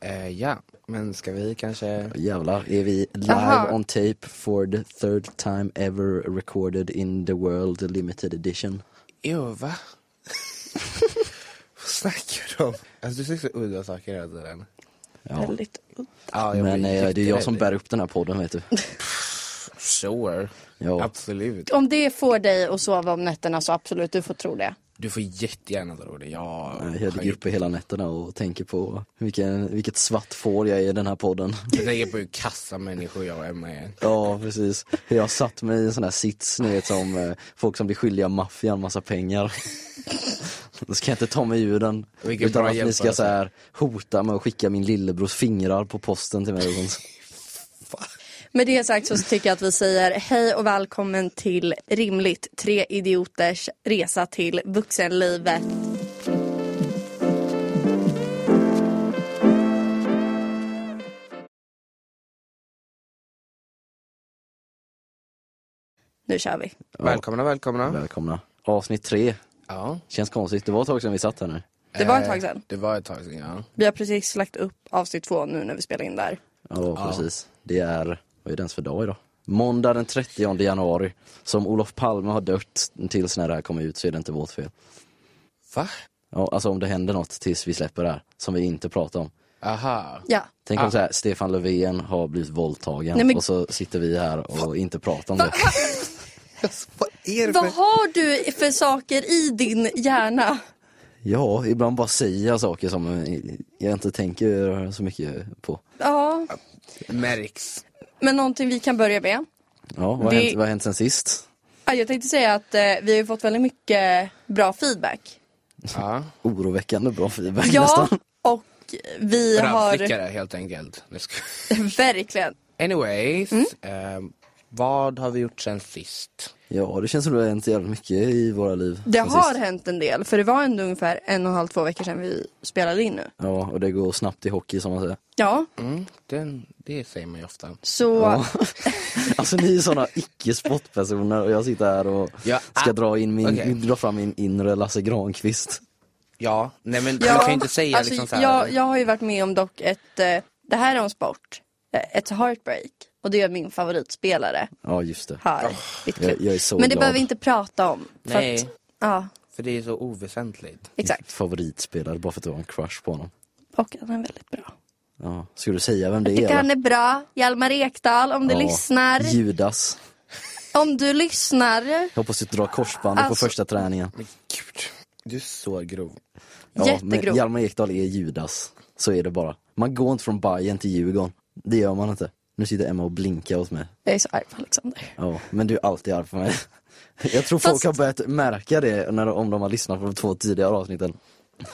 Eh, ja, men ska vi kanske... Jävlar, är vi live Jaha. on tape for the third time ever recorded in the world the limited edition? Jo, va? Vad snackar du om? Alltså du säger så udda saker hela tiden. Ja. Väldigt udda. Ja, jag Men blir eh, det är jag som jätterädd. bär upp den här podden vet du. Sure, Ja. absolut. Om det får dig att sova om nätterna så absolut, du får tro det. Du får jättegärna dra det. Ja, Jag ligger uppe hela nätterna och tänker på vilken, vilket svart får jag är i den här podden. Jag tänker på hur kassa människor jag och Emma är. Ja, precis. Hur Jag satt mig i en sån här sits, ni vet som eh, folk som blir skyldiga maffian massa pengar. Då ska jag inte ta mig ur den. Vilken utan bra att ni ska jämförelse. så här, hota mig och skicka min lillebrors fingrar på posten till mig och sånt. Med det sagt så tycker jag att vi säger hej och välkommen till Rimligt, tre idioters resa till vuxenlivet. Nu kör vi. Välkomna, välkomna. Välkomna. Avsnitt tre. Ja. Känns konstigt, det var ett tag sedan vi satt här nu. Det var ett Eh, tag sedan. Det var ett tag sedan, ja. Vi har precis lagt upp avsnitt två nu när vi spelar in där. Ja, precis. Det är, vad är det ens för dag idag? Måndag den 30 januari. Som Olof Palme har dött tills när det här kommer ut så är det inte vårt fel. Va? Ja, alltså om det händer något tills vi släpper det här, som vi inte pratar om. Aha. Ja. Tänk om så här, Stefan Löfven har blivit våldtagen Nej, men- och så sitter vi här och inte pratar om det. Alltså, vad är det Vad för... har du för saker i din hjärna? Ja, ibland bara säger jag saker som jag inte tänker så mycket på. Ja, Märks. men någonting vi kan börja med. Ja, vad har Det- hänt, vad har hänt sen sist? Ja, Jag tänkte säga att eh, vi har ju fått väldigt mycket bra feedback. Ja. Oroväckande bra feedback Ja, nästan. och vi har Rabbslickare, helt enkelt. Nu ska... verkligen. Anyways, ehm, vad har vi gjort sen sist? Ja, det känns som det har hänt jävligt mycket i våra liv. Det sen har sist. hänt en del, för det var ändå ungefär en och en halv, två veckor sedan vi spelade in nu. Ja, och det går snabbt i hockey som man säger. Ja, Mm, den, det säger man ju ofta. så Ja. Alltså ni är sådana icke-sportpersoner och jag sitter här och Ja, ska ah, dra, in min, okej. dra fram min inre Lasse Granqvist. Ja, nej men Ja, man kan ju inte säga alltså, liksom så här. Jag, jag har ju varit med om dock ett, eh, det här är om sport, eh, ett heartbreak. Och det är min favoritspelare Ja, just det. här. mitt jag- klubb. jag är så Men det glad. behöver vi inte prata om. för Nej. Att, ja, För det är så oväsentligt. exakt. Favoritspelare bara för att du har en crush på honom. Och han är väldigt bra. Ja. Ska du säga vem det Jag är? tycker eller? han är bra. Hjalmar Ekdal, om du Ja, lyssnar. Judas. Om du lyssnar. Jag hoppas du drar korsbandet Alltså- på första träningen. Men gud, du är så grov. Jättegrov. Hjalmar Ekdal är Judas. Så är det bara. Man går inte från Bayern till Djurgården. Det gör man inte. Nu sitter Emma och blinkar åt mig. Jag är så arg på Alexander. Ja, men du är alltid arg på mig. Jag tror folk Fast- har börjat märka det när, om de har lyssnat på de två tidigare avsnitten.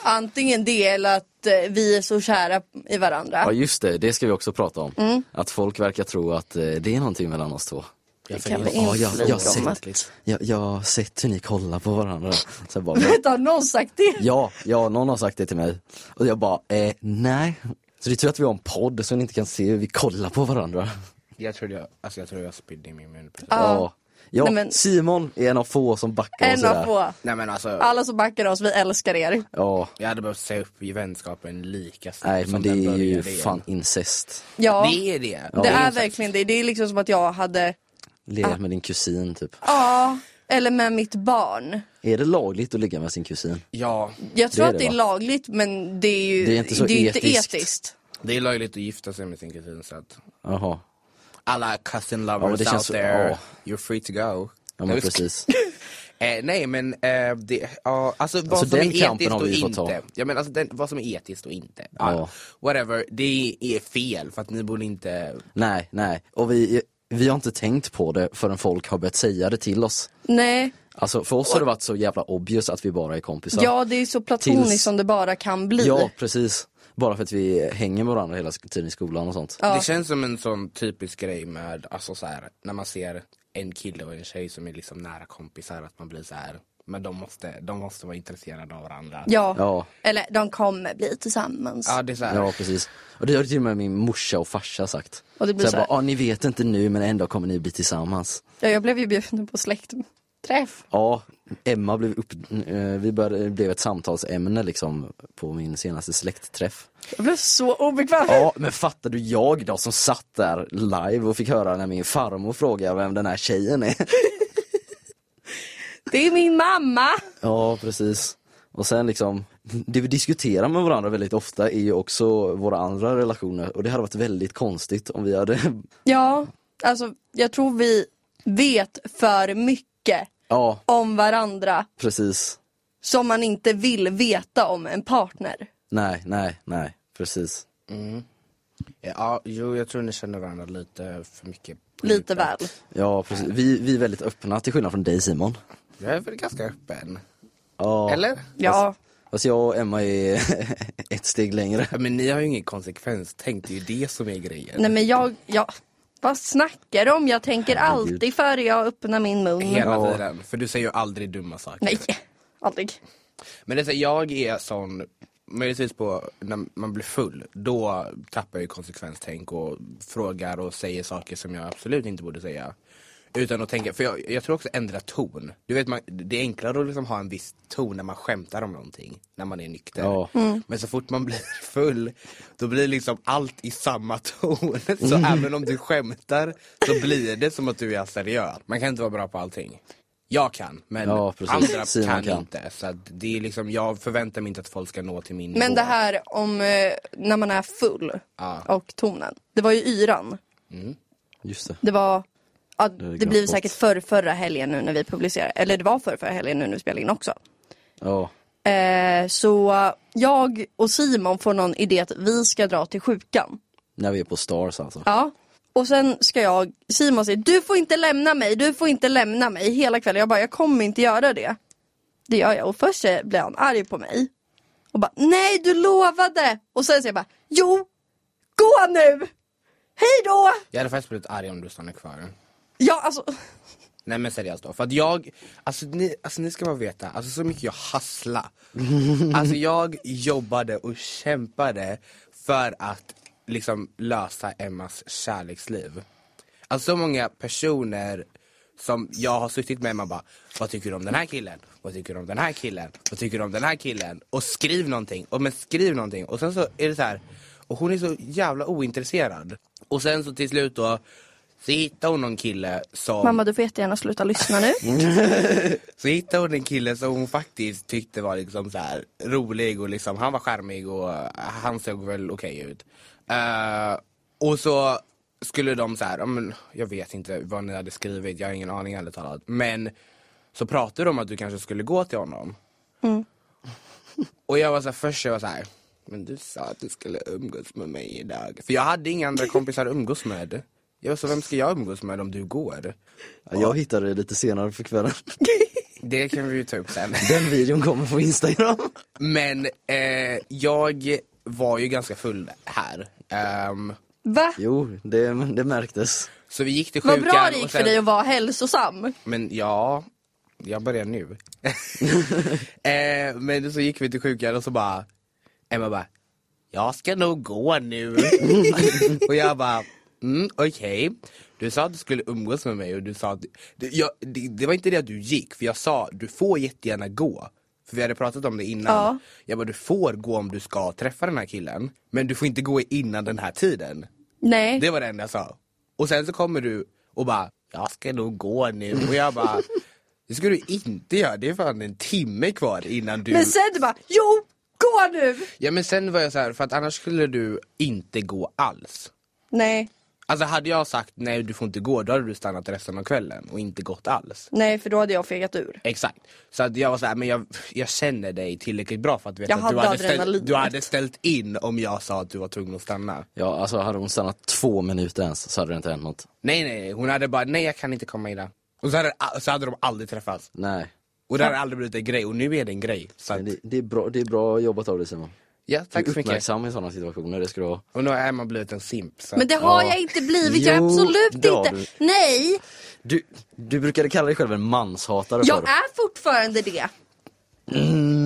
Antingen det eller att eh, vi är så kära i Ja varandra. just det, det ska vi också prata om. Mm. Att folk verkar tro att eh, det är någonting mellan oss två. Jag kan faktiskt- vi Ja, jag, jag, har Inflytande. sett, jag, jag har sett hur ni kollar på varandra. Så jag bara, Har någon sagt det? ja, ja, någon har sagt det till mig. Och jag bara, eh, nej. Så det är tur att vi har en podd så ni inte kan se hur vi kollar på varandra. Jag tror jag, alltså jag tror jag spydde i min mun. precis. Ja, ja Nej, men- Simon är en av få som backar oss En i det här. av få. Nej men alltså, Alla som backar oss, vi älskar er. Ja, jag hade behövt säga upp i vänskapen lika snabbt nej men som det den är ju började igen. fan incest. Ja, det, Det är det. är verkligen det. Det är liksom som att jag hade, Legat med din kusin typ. ja, eller med mitt barn. Är det lagligt att ligga med sin kusin? Ja, Jag tror Det är det, att det är va? lagligt men det är ju Det är inte så ju etiskt. det är löjligt att gifta sig med sin kusin så att Jaha. alla cousin men lovers det out känns så- there, ja. you're free to go. Ja Nej, men vi- precis. Eh, nej men eh, det, ja, alltså vad som Alltså, den är kampen etiskt har och vi ju fått ta. inte. Ja, men alltså, den, vad som är etiskt och inte. Ja. Ah, whatever, det är fel för att ni borde inte Nej, nej. Och vi, vi har inte tänkt på det förrän folk har börjat säga det till oss. Nej, Alltså för oss har det varit så jävla obvious att vi bara är kompisar. ja det är så platoniskt Tills- som det bara kan bli. Ja, precis. Bara för att vi hänger med varandra hela tiden i skolan och sånt. Ja. Det känns som en sån typisk grej med, alltså så här, när man ser en kille och en tjej som är liksom nära kompisar, att man blir så här. men de måste, de måste vara intresserade av varandra. Ja. Ja. eller de kommer bli tillsammans. Ja, det är så här. Ja, precis. Och det har till och med min morsa och farsa sagt. Och det blir så så här här- bara, ah, ni vet inte nu men en dag kommer ni bli tillsammans. Ja, jag blev ju bjuden på släkt Träff. Ja, Emma blev upp... eh, Vi började, blev ett samtalsämne liksom på min senaste släktträff. Jag blev så obekväm. Ja, men fattar du jag då som satt där live och fick höra när min farmor frågade vem den här tjejen är. Det är min mamma. Ja, precis. Och sen liksom, det vi diskuterar med varandra väldigt ofta är ju också våra andra relationer och det hade varit väldigt konstigt om vi hade, Ja, alltså jag tror vi vet för mycket ja om varandra precis, som man inte vill veta om en partner. nej, nej, nej, precis. Mm. Ja, jo, jag tror ni känner varandra lite för mycket. på Lite djupet. väl. Ja, precis. Vi, vi är väldigt öppna till skillnad från dig Simon. Jag är väl ganska öppen. Ja. Eller? Ja, Fast jag och Emma är ett steg längre. Ja, Men ni har ju ingen konsekvens. Tänk, det är ju det som är grejen. nej men jag, jag vad snackar du om? Jag tänker Herregud. alltid före jag öppnar min mun. Hela Ja. tiden. För du säger ju aldrig dumma saker. Nej, aldrig. Men det är så, jag är sån, möjligtvis på när man blir full, då tappar jag ju konsekvenstänk och frågar och säger saker som jag absolut inte borde säga. Utan att tänka, för jag, jag tror också ändra ton. Du vet, man, det är enklare att liksom ha en viss ton när man skämtar om någonting, när man är nykter. Ja. Men så fort man blir full, då blir liksom allt i samma ton. Så Mm. även om du skämtar så blir det som att du är seriös. Man kan inte vara bra på allting. Jag kan, men Ja, precis. andra Simon kan, kan. inte. Så att det är liksom, jag förväntar mig inte att folk ska nå till min Men nivå. det här om eh, när man är full Ja. och tonen. Det var ju yran. Just det. Det var, ja, är det, glömt blev bort. säkert för förra helgen nu när vi publicerar. Eller det var för förra helgen nu när vi spelade in också. Ja. Eh, så jag och Simon får någon idé att vi ska dra till sjukan. När vi är på Stars alltså. Ja. Och sen ska jag, Simon säger du får inte lämna mig, du får inte lämna mig hela kvällen. Jag bara jag kommer inte göra det. Det gör jag och först så blir han arg på mig. Och bara nej du lovade! Och sen säger jag bara jo, gå nu! Hej då! Jag hade faktiskt blivit arg om du stannade kvar. Ja alltså, Nej men seriöst då, för att jag, alltså ni, alltså ni ska bara veta, alltså så mycket jag hassla. Alltså jag jobbade och kämpade för att liksom lösa Emmas kärleksliv. Alltså så många personer som jag har suttit med Emma bara, vad tycker du om den här killen? Vad tycker du om den här killen? Vad tycker du om den här killen? Och skriv någonting, och men skriv någonting. Och sen så är det så här, och hon är så jävla ointresserad. Och sen så till slut då, så hittar hon någon kille som mamma du får jättegärna sluta lyssna nu. så hittade hon en kille som hon faktiskt tyckte var liksom så här rolig och liksom, han var charmig och eh, han såg väl okej ut. Eh, och så skulle de så här, ja, men, jag vet inte vad ni hade skrivit, jag har ingen aning ärligt talat. Men så pratade de om att du kanske skulle gå till honom. Och jag var så här, först jag var så här, men du sa att du skulle umgås med mig idag. För jag hade inga andra kompisar att umgås med. Jag var så, vem ska jag umgås med om du går? Jag hittade det lite senare på kvällen. Det kan vi ju ta upp sen. Den videon kommer på Instagram. Men eh, jag var ju ganska full här. Ehm, Va? Jo, det, det märktes. så vi gick till Vad sjukan. bra det gick och sen- för dig att vara hälsosam. Men ja, jag börjar nu. eh, men så gick vi till sjukan och så bara, Emma bara, jag ska nog gå nu. och jag bara, mm, okej. Du sa att du skulle umgås med mig och du sa att, du, jag, det, det var inte det att du gick, för jag sa, du får jättegärna gå. För vi hade pratat om det innan. Ja. Jag bara, du får gå om du ska träffa den här killen. Men du får inte gå innan den här tiden. Nej. Det var det enda jag sa. Och sen så kommer du och bara, jag ska nog gå nu. Och jag bara, det ska du inte göra. Det är fan en timme kvar innan du... Men sen du bara jo, gå nu! Ja men sen var jag så här, för att annars skulle du inte gå alls. Nej, Alltså hade jag sagt nej du får inte gå, då hade du stannat resten av kvällen och inte gått alls. nej för då hade jag fegat ur. Exakt. Så att jag var så här, men jag, jag känner dig tillräckligt bra för att veta Jag att du hade hade, ställt, adrenalinet. du hade ställt in om jag sa att du var tvungen att stanna. Ja, alltså hade hon stannat två minuter ens så hade det inte hänt något. Nej nej, nej. hon hade bara, nej jag kan inte komma idag. Och så hade, så hade de aldrig träffats. Nej. Och det har aldrig blivit en grej och nu är det en grej. Så att, Men Det, det, är, bra, det är bra jobbat av dig Simon. ja, tack du är så mycket. uppmärksam i sådana situationer, det ska du vara. Och nu har man blivit en simp. Så. Men det har Ja. jag inte blivit, jag är Jo, absolut det har inte. Nej, Du, du brukade kalla dig själv en manshatare jag förr. är fortfarande det.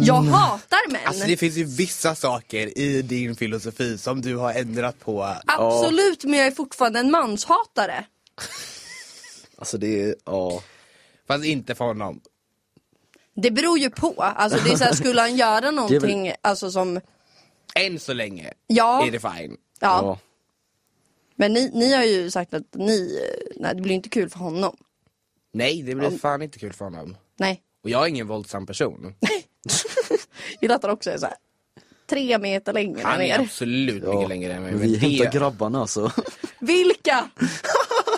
Jag hatar män. Alltså det finns ju vissa saker i din filosofi som du har ändrat på. Absolut, men jag är fortfarande en manshatare. Alltså det är, ja. Fast inte för honom. Det beror ju på. Alltså det är så här, skulle han göra väl- någonting alltså som, Än så länge ja, är det fine. ja. Men ni, ni har ju sagt att ni, eh, nej det blir inte kul för honom. Nej, det blir fan inte kul för honom. Nej. Och jag är ingen våldsam person. Gillar att han också är så här, tre meter längre än Han är er. absolut Ja. mycket längre än mig. Men Vi hämtar det, grabbarna alltså. Vilka?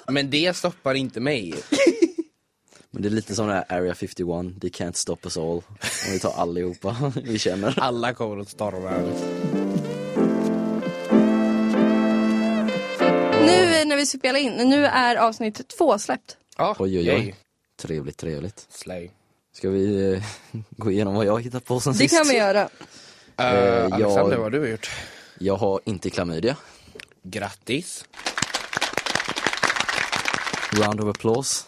men det stoppar inte mig. Men det är lite som den här Area 51, they can't stop us all. Om vi tar allihopa vi känner. Alla kommer att storma. Nu eh, när vi spelar in, nu är avsnitt två släppt. Ja, Oj oj oj. Trevligt, trevligt. Slay. Ska vi eh, gå igenom vad jag har hittat på sen Det sist? kan vi göra. Eh, jag- Alexander, vad har du gjort? Jag har inte klamydia. Grattis. Round of applause.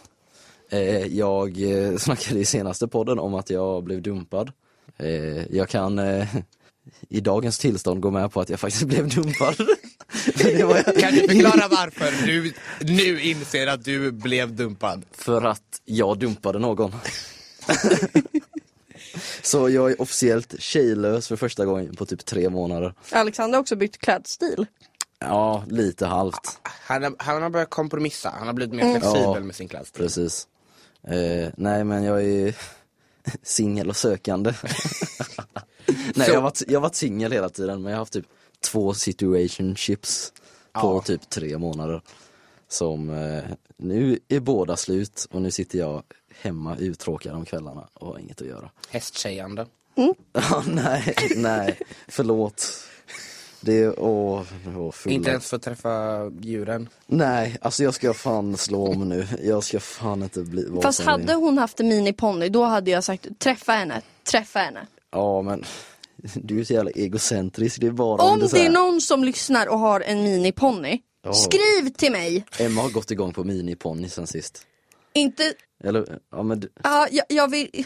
Eh, jag eh, snackade i senaste podden om att jag blev dumpad. Eh, jag kan eh, i dagens tillstånd gå med på att jag faktiskt blev dumpad. det var jag, Kan du förklara varför du nu inser att du blev dumpad? för att jag dumpade någon. Så jag är officiellt tjejlös för första gången på typ tre månader. Alexander har också bytt klädstil. Ja, lite halvt. Han har, han har börjat kompromissa, han har blivit mer flexibel Ja. med sin klädstil. Precis. Eh, nej men jag är singel och sökande. nej Så- jag har varit, jag har varit singel hela tiden men jag har haft typ två situationships på Ja. typ tre månader. Som eh, nu är båda slut och nu sitter jag hemma uttråkad om kvällarna och har inget att göra. Hästtjejande. Ja, nej, nej, förlåt. Det är, åh, åh fulla. Inte ens för att träffa djuren. Nej, alltså jag ska fan slå om nu. Jag ska fan inte bli vad Fast som hade hon haft en miniponny då hade jag sagt träffa henne, träffa henne. Ja men, du är så jävla egocentrisk, det är bara Om så det här, är någon som lyssnar och har en miniponny, Ja. skriv till mig! Emma har gått igång på miniponny sen sist. Inte, Eller, ja men, du- ja, jag, jag vill,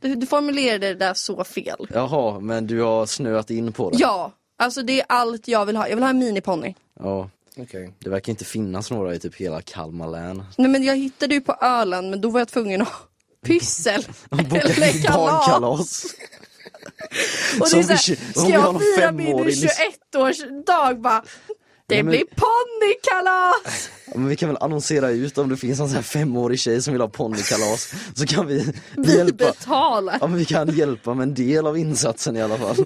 du, du formulerade det där så fel. jaha, men du har snöat in på det? Ja, alltså det är allt jag vill ha, jag vill ha en miniponny. Ja, Okej. det verkar inte finnas några i typ hela Kalmar län. Nej men jag hittade ju på Öland men då var jag tvungen att ha pyssel eller kalas. Barnkalas! Och det Som är så här, vi kö- ska om vi har jag någon fira min femårig list- 21-årsdag bara, det Nej, men- blir ponnykalas! Ja, Men vi kan väl annonsera ut om det finns någon sån här femårig tjej som vill ha ponnykalas, så kan vi Vi hjälpa. betalar. Ja men vi kan hjälpa med en del av insatsen i alla fall.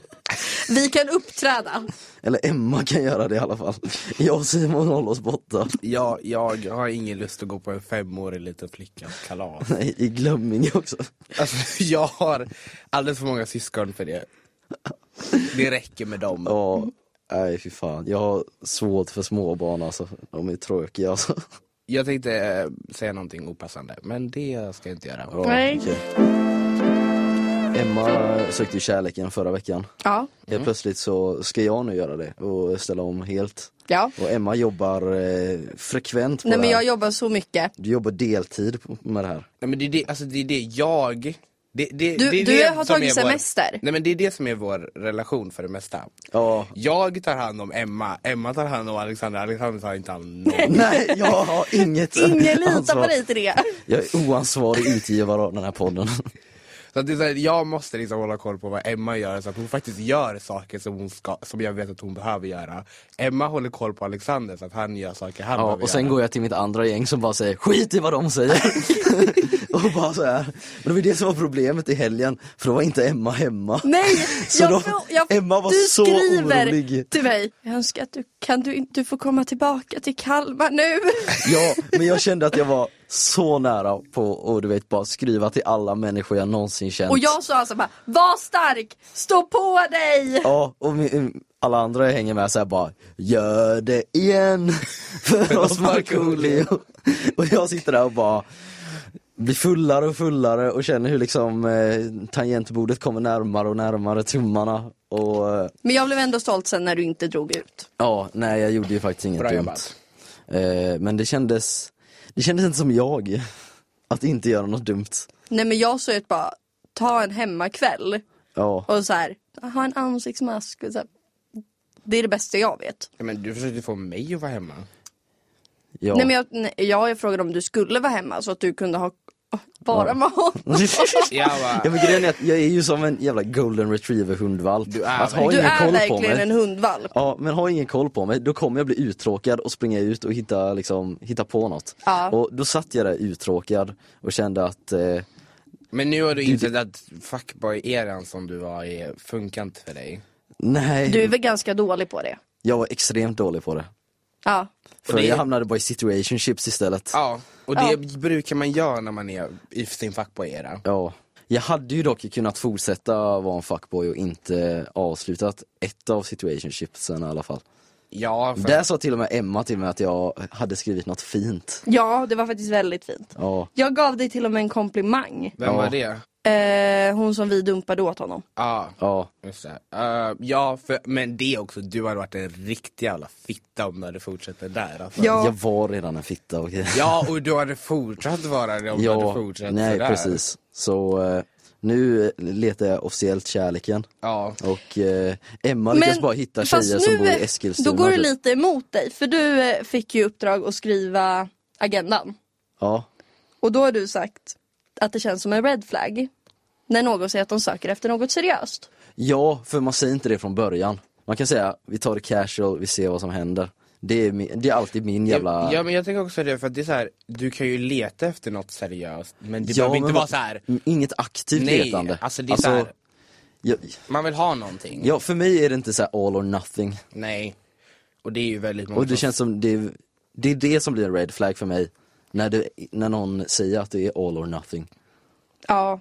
Vi kan uppträda. Eller Emma kan göra det i alla fall. Jag och Simon håller oss borta. Ja, jag har ingen lust att gå på en femårig liten flickas kalas. Nej, i Glömminge också. Alltså, jag har alldeles för många syskon för det. Det räcker med dem. Ja, nej fy fan. Jag har svårt för småbarn alltså. De är tråkiga alltså. Jag tänkte eh, säga någonting opassande, men det ska jag inte göra. Ja, Nej. okej. Emma sökte ju kärleken förra veckan. Ja, Helt plötsligt så ska jag nu göra det och ställa om helt. ja. Och Emma jobbar eh, frekvent på Nej det men här. jag jobbar så mycket. Du jobbar deltid på- med det här. Nej, men det är det, alltså, det, är det jag... Det, det, Du- det är du det har som tagit är vår- semester. Nej men det är det som är vår relation för det mesta. Ja. Jag tar hand om Emma, Emma tar hand om Alexander, Alexander tar inte hand om någon. Nej, jag har inget Ingen litar ansvar. på dig till det. Jag är oansvarig utgivare av den här podden. Så att det är så här, jag måste liksom hålla koll på vad Emma gör så att hon faktiskt gör saker som, hon ska, som jag vet att hon behöver göra. Emma håller koll på Alexander så att han gör saker han Ja, behöver och sen göra. går jag till mitt andra gäng som bara säger skit i vad de säger. och bara så här. Men det var det som var problemet i helgen, för då var inte Emma hemma. Nej, Så jag, då- frå- jag, Emma var du så skriver orolig. till mig. Jag önskar att du kan du inte få komma tillbaka till Kalmar nu. Ja, men jag kände att jag var så nära på att du vet bara skriva till alla människor jag någonsin känt. Och jag sa alltså bara, var stark, stå på dig! Ja, och min, mm, alla andra jag hänger med så här bara Gör det igen för oss Markoolio. Och jag sitter där och bara blir fullare och fullare och känner hur liksom eh, tangentbordet kommer närmare och närmare tummarna. Och eh, Men jag blev ändå stolt sen när du inte drog ut. ja, nej jag gjorde ju faktiskt inget Bra dumt. jobbat. Eh, men det kändes, det kändes inte som jag. Att inte göra något dumt. Nej men jag sa ju att bara, ta en hemmakväll Ja, och så här, ha en ansiktsmask. Och så här. Det är det bästa jag vet. Ja, men du försökte få mig att vara hemma. ja. Nej men jag, nej, jag frågade om du skulle vara hemma så att du kunde ha oh, bara med honom. Jag bara, Ja men grejen är att jag är ju som en jävla golden retriever hundvalp. Du är att ha verkligen- Du ingen koll är på verkligen mig. en hundvalp. Ja men ha ingen koll på mig, då kommer jag bli uttråkad och springa ut och hitta, liksom, hitta på något. Ja. Och då satt jag där uttråkad och kände att eh, men nu har du insett att fuckboy-eran som du var i funkar inte för dig. nej, Du är väl ganska dålig på det? jag var extremt dålig på det. Ja. För det- jag hamnade bara i situationships istället. Ja, och det Ja. brukar man göra när man är i sin fuckboy-era. Ja. Jag hade ju dock kunnat fortsätta vara en fuckboy och inte avslutat ett av situationshipsen i alla fall. Ja, för Där sa till och med Emma till mig att jag hade skrivit något fint. ja, det var faktiskt väldigt fint. Ja, Jag gav dig till och med en komplimang. vem var det? Eh, hon som vi dumpade åt honom. Ja, ja. just det. Eh, ja för, men det också, du hade varit en riktig jävla fitta om du hade fortsatt det där. Alltså. Ja. Jag var redan en fitta, okej. Ja, och du hade fortsatt vara det om du hade fortsatt nej sådär. precis. Så eh, nu eh, letar jag officiellt kärleken Ja. och eh, Emma lyckas bara hitta fast tjejer som nu, bor i eh, Eskilstuna. Då går det typ. lite emot dig, för du eh, fick ju uppdrag att skriva agendan. Ja, Och då har du sagt att det känns som en red flag när någon säger att de söker efter något seriöst. Ja, för man säger inte det från början. Man kan säga, vi tar det casual, vi ser vad som händer. Det är, min, det är alltid min jävla... Ja men jag tänker också det, för att det är så här, du kan ju leta efter något seriöst, men det Ja, behöver men inte vad- vara så här. Mm, Inget aktivt Nej, letande. alltså det är så här- jag, man vill ha någonting. ja, för mig är det inte så här all or nothing. Nej. Och det är ju väldigt många Och det som- känns som, det är, det är det som blir en red flag för mig. När, det, när någon säger att det är all or nothing. Ja,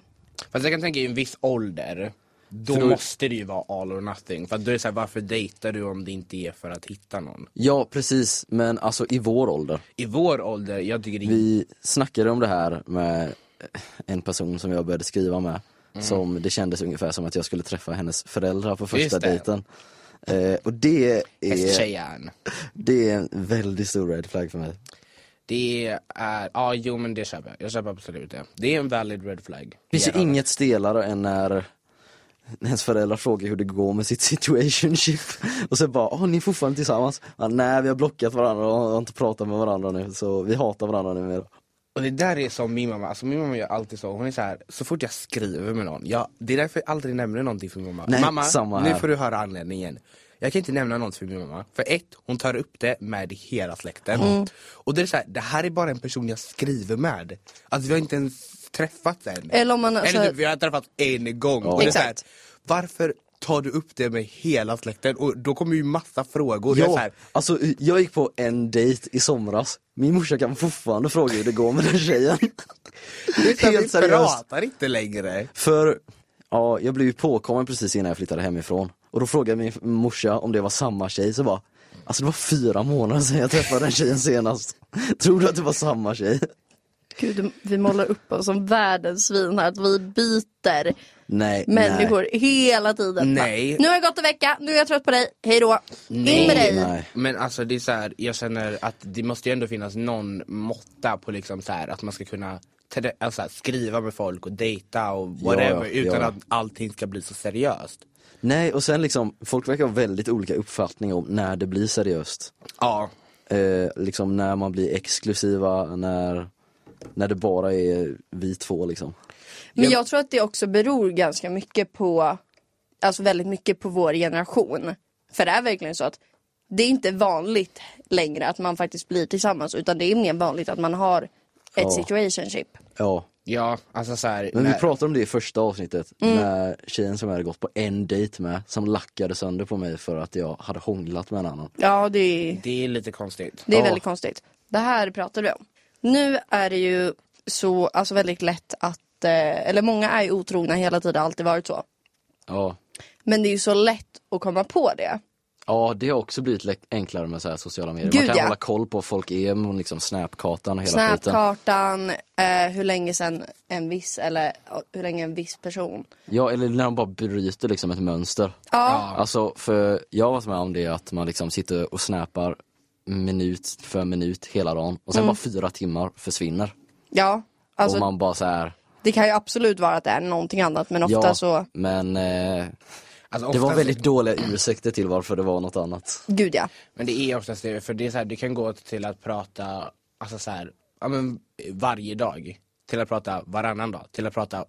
Fast jag kan tänka i en viss ålder, då, För då- måste det ju vara all or nothing. För att då är det så här, varför dejtar du om det inte är för att hitta någon? Ja, precis. Men alltså i vår ålder. I vår ålder, jag tycker det är... Vi snackade om det här med en person som jag började skriva med. Mm. Som det kändes ungefär som att jag skulle träffa hennes föräldrar på första Just det. dejten. Eh, och det är, Hästtjejen. det är en väldigt stor red flag för mig. Det är, ja jo men det köper jag. Jag köper absolut det. Det är en valid red flag. Det finns ju Ja. inget stelare än när ens föräldrar frågar hur det går med sitt situationship. Och så bara, åh ni är fortfarande tillsammans? Ja, Nej vi har blockat varandra och har inte pratat med varandra nu så vi hatar varandra nu mer. Och det där är som min mamma, alltså min mamma gör alltid så, hon är så här, så fort jag skriver med någon, jag, det är därför jag aldrig nämner någonting för min mamma. Nej, mamma, samma nu här. får du höra anledningen. Jag kan inte nämna något för min mamma, för ett, hon tar upp det med hela släkten. Mm. Och det är det så här, det här är bara en person jag skriver med. Alltså vi har inte ens träffats än. Eller om man- Eller så- typ, vi har träffats en gång. Och det är så här, Exakt. varför tar du upp det med hela släkten? Och då kommer ju massa frågor. Jag är så här, alltså jag gick på en dejt i somras. Min morsa kan fortfarande fråga hur det går med den tjejen. det är så här, Helt vi seriöst. pratar inte längre. För, ja, jag blev ju påkommen precis innan jag flyttade hemifrån. Och då frågade min morsa om det var samma tjej, så bara Alltså det var fyra månader sedan jag träffade den tjejen senast. Tror du att det var samma tjej? gud vi målar upp oss som världens svin här, att vi byter Nej, människor hela tiden. Nej. Nu har jag gått en vecka, nu är jag trött på dig, hej då. In med nej. dig. nej. Men alltså det är så här, jag känner att det måste ju ändå finnas någon måtta på liksom så här, att man ska kunna trä- alltså, skriva med folk och dejta och whatever ja, utan ja. att allting ska bli så seriöst. Nej, och sen liksom, folk verkar ha väldigt olika uppfattningar om när det blir seriöst. Ja, Eh, liksom när man blir exklusiva, när, när det bara är vi två liksom. Men jag tror att det också beror ganska mycket på, alltså väldigt mycket på vår generation. För det är verkligen så att det är inte vanligt längre att man faktiskt blir tillsammans utan det är mer vanligt att man har ett Ja. situationship. Ja, ja alltså så här, men vi när- pratade om det i första avsnittet, Mm. när tjejen som jag hade gått på en dejt med, som lackade sönder på mig för att jag hade hånglat med en annan. Ja, det är, det är lite konstigt. det är Ja. väldigt konstigt. Det här pratar vi om. Nu är det ju så, alltså väldigt lätt att, eh, eller många är ju otrogna hela tiden, har alltid varit så. Ja, Men det är ju så lätt att komma på det. ja det har också blivit le- enklare med så här sociala medier. Gud, man kan ja. hålla koll på vad folk är med liksom snapkartan och hela skiten. Snapkartan, eh, hur länge sedan en viss, eller ja, hur länge en viss person. Ja, eller när de bara bryter liksom ett mönster. Ja, Alltså, för jag har varit med om det att man liksom sitter och snappar minut för minut hela dagen och sen bara fyra timmar försvinner. ja. Mm. Alltså, och man bara så här, Det kan ju absolut vara att det är någonting annat men ofta ja, så, men eh, Alltså, det var oftast- väldigt dåliga ursäkter till varför det var något annat. gud ja. Men det är oftast det, för det är så här, det kan gå till att prata, alltså så här, ja men varje dag. till att prata varannan dag, till att prata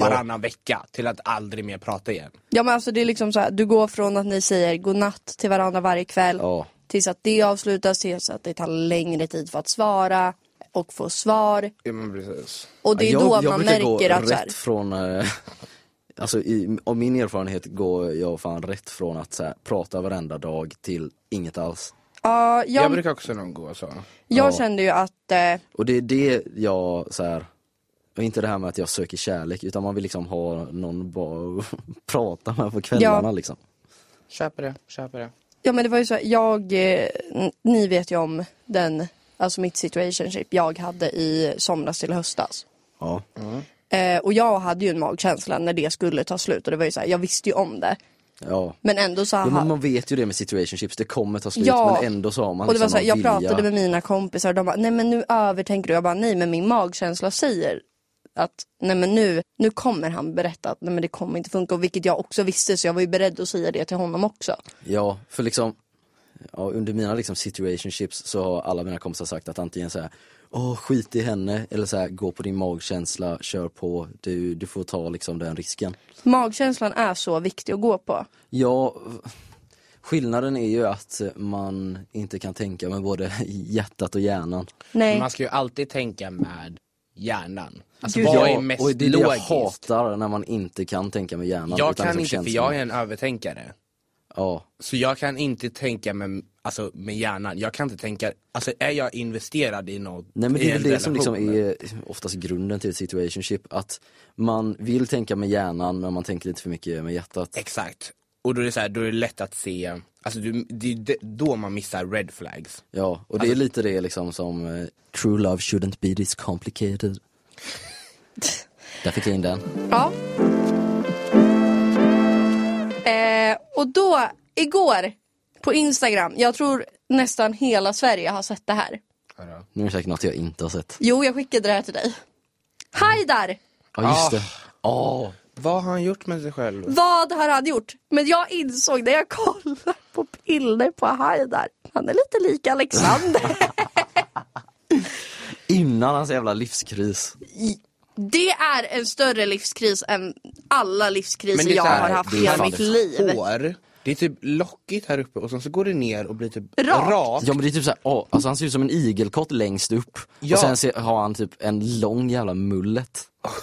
varannan vecka, till att aldrig mer prata igen. Ja men alltså det är liksom så här, du går från att ni säger godnatt till varandra varje kväll Ja. tills att det avslutas, tills att det tar längre tid för att svara och få svar. Ja, men precis. Och det är jag, då jag man brukar märker gå att så här, rätt från, eh, alltså i, av min erfarenhet går jag fan rätt från att så här, prata varenda dag till inget alls. ja, Jag, jag, jag, brukar också nog gå så. ja. kände ju att eh, Och det är det jag så här. Och inte det här med att jag söker kärlek utan man vill liksom ha någon bara att prata med på kvällarna Ja. liksom. Köper det, köper det. Ja men det var ju så, här, jag, eh, n- ni vet ju om den, alltså mitt situationship jag hade i somras till höstas. Ja. Eh, och jag hade ju en magkänsla när det skulle ta slut och det var ju så här, jag visste ju om det. Ja. Men ändå så Jo, här, men man vet ju det med situationships, det kommer ta slut Ja. men ändå så har man och det var liksom så här, någon jag vilja. pratade med mina kompisar och de bara, nej men nu övertänker du. Jag bara, nej men min magkänsla säger att nej men nu, nu kommer han berätta att nej men det kommer inte funka. Och vilket jag också visste så jag var ju beredd att säga det till honom också. Ja, för liksom ja, under mina liksom situationships så har alla mina kompisar sagt att antingen så här Åh, skit i henne eller så här, gå på din magkänsla, kör på, du, du får ta liksom den risken. Magkänslan är så viktig att gå på. Ja, skillnaden är ju att man inte kan tänka med både hjärtat och hjärnan. Nej. Man ska ju alltid tänka med hjärnan. Alltså Gud, vad Ja, är mest och det är det jag logiskt? hatar när man inte kan tänka med hjärnan. Jag utan kan liksom inte, för känslan. jag är en övertänkare. Ja, Så jag kan inte tänka med, alltså, med hjärnan. Jag kan inte tänka, alltså är jag investerad i något? Nej men i det är en väl det som liksom relation? är oftast grunden till ett situationship, att man vill tänka med hjärnan men man tänker lite för mycket med hjärtat. Exakt. Och då är det så här, då är det lätt att se, alltså du, det är d- då man missar red flags. Ja, och det Alltså- är lite det liksom som eh, True love shouldn't be this complicated. Där fick jag in den. Ja. Eh, och då, igår, på Instagram, jag tror nästan hela Sverige har sett det här. Nu är det säkert något jag inte har sett. Jo, jag skickade det här till dig. Hej där! Ja just Ah. det. Ja, Vad har han gjort med sig själv? Vad har han gjort? Men jag insåg när jag kollade på bilder på Haidar, han är lite lik Alexander. innan hans jävla livskris. Det är en större livskris än alla livskriser Men det är jag så här, har haft det är hela fan mitt det liv. Hår, det är typ lockigt här uppe och sen så går det ner och blir typ Rakt. Ja men det är typ såhär, oh, alltså han ser ut som en igelkott längst upp. Ja. Och sen ser, har han typ en lång jävla mullet.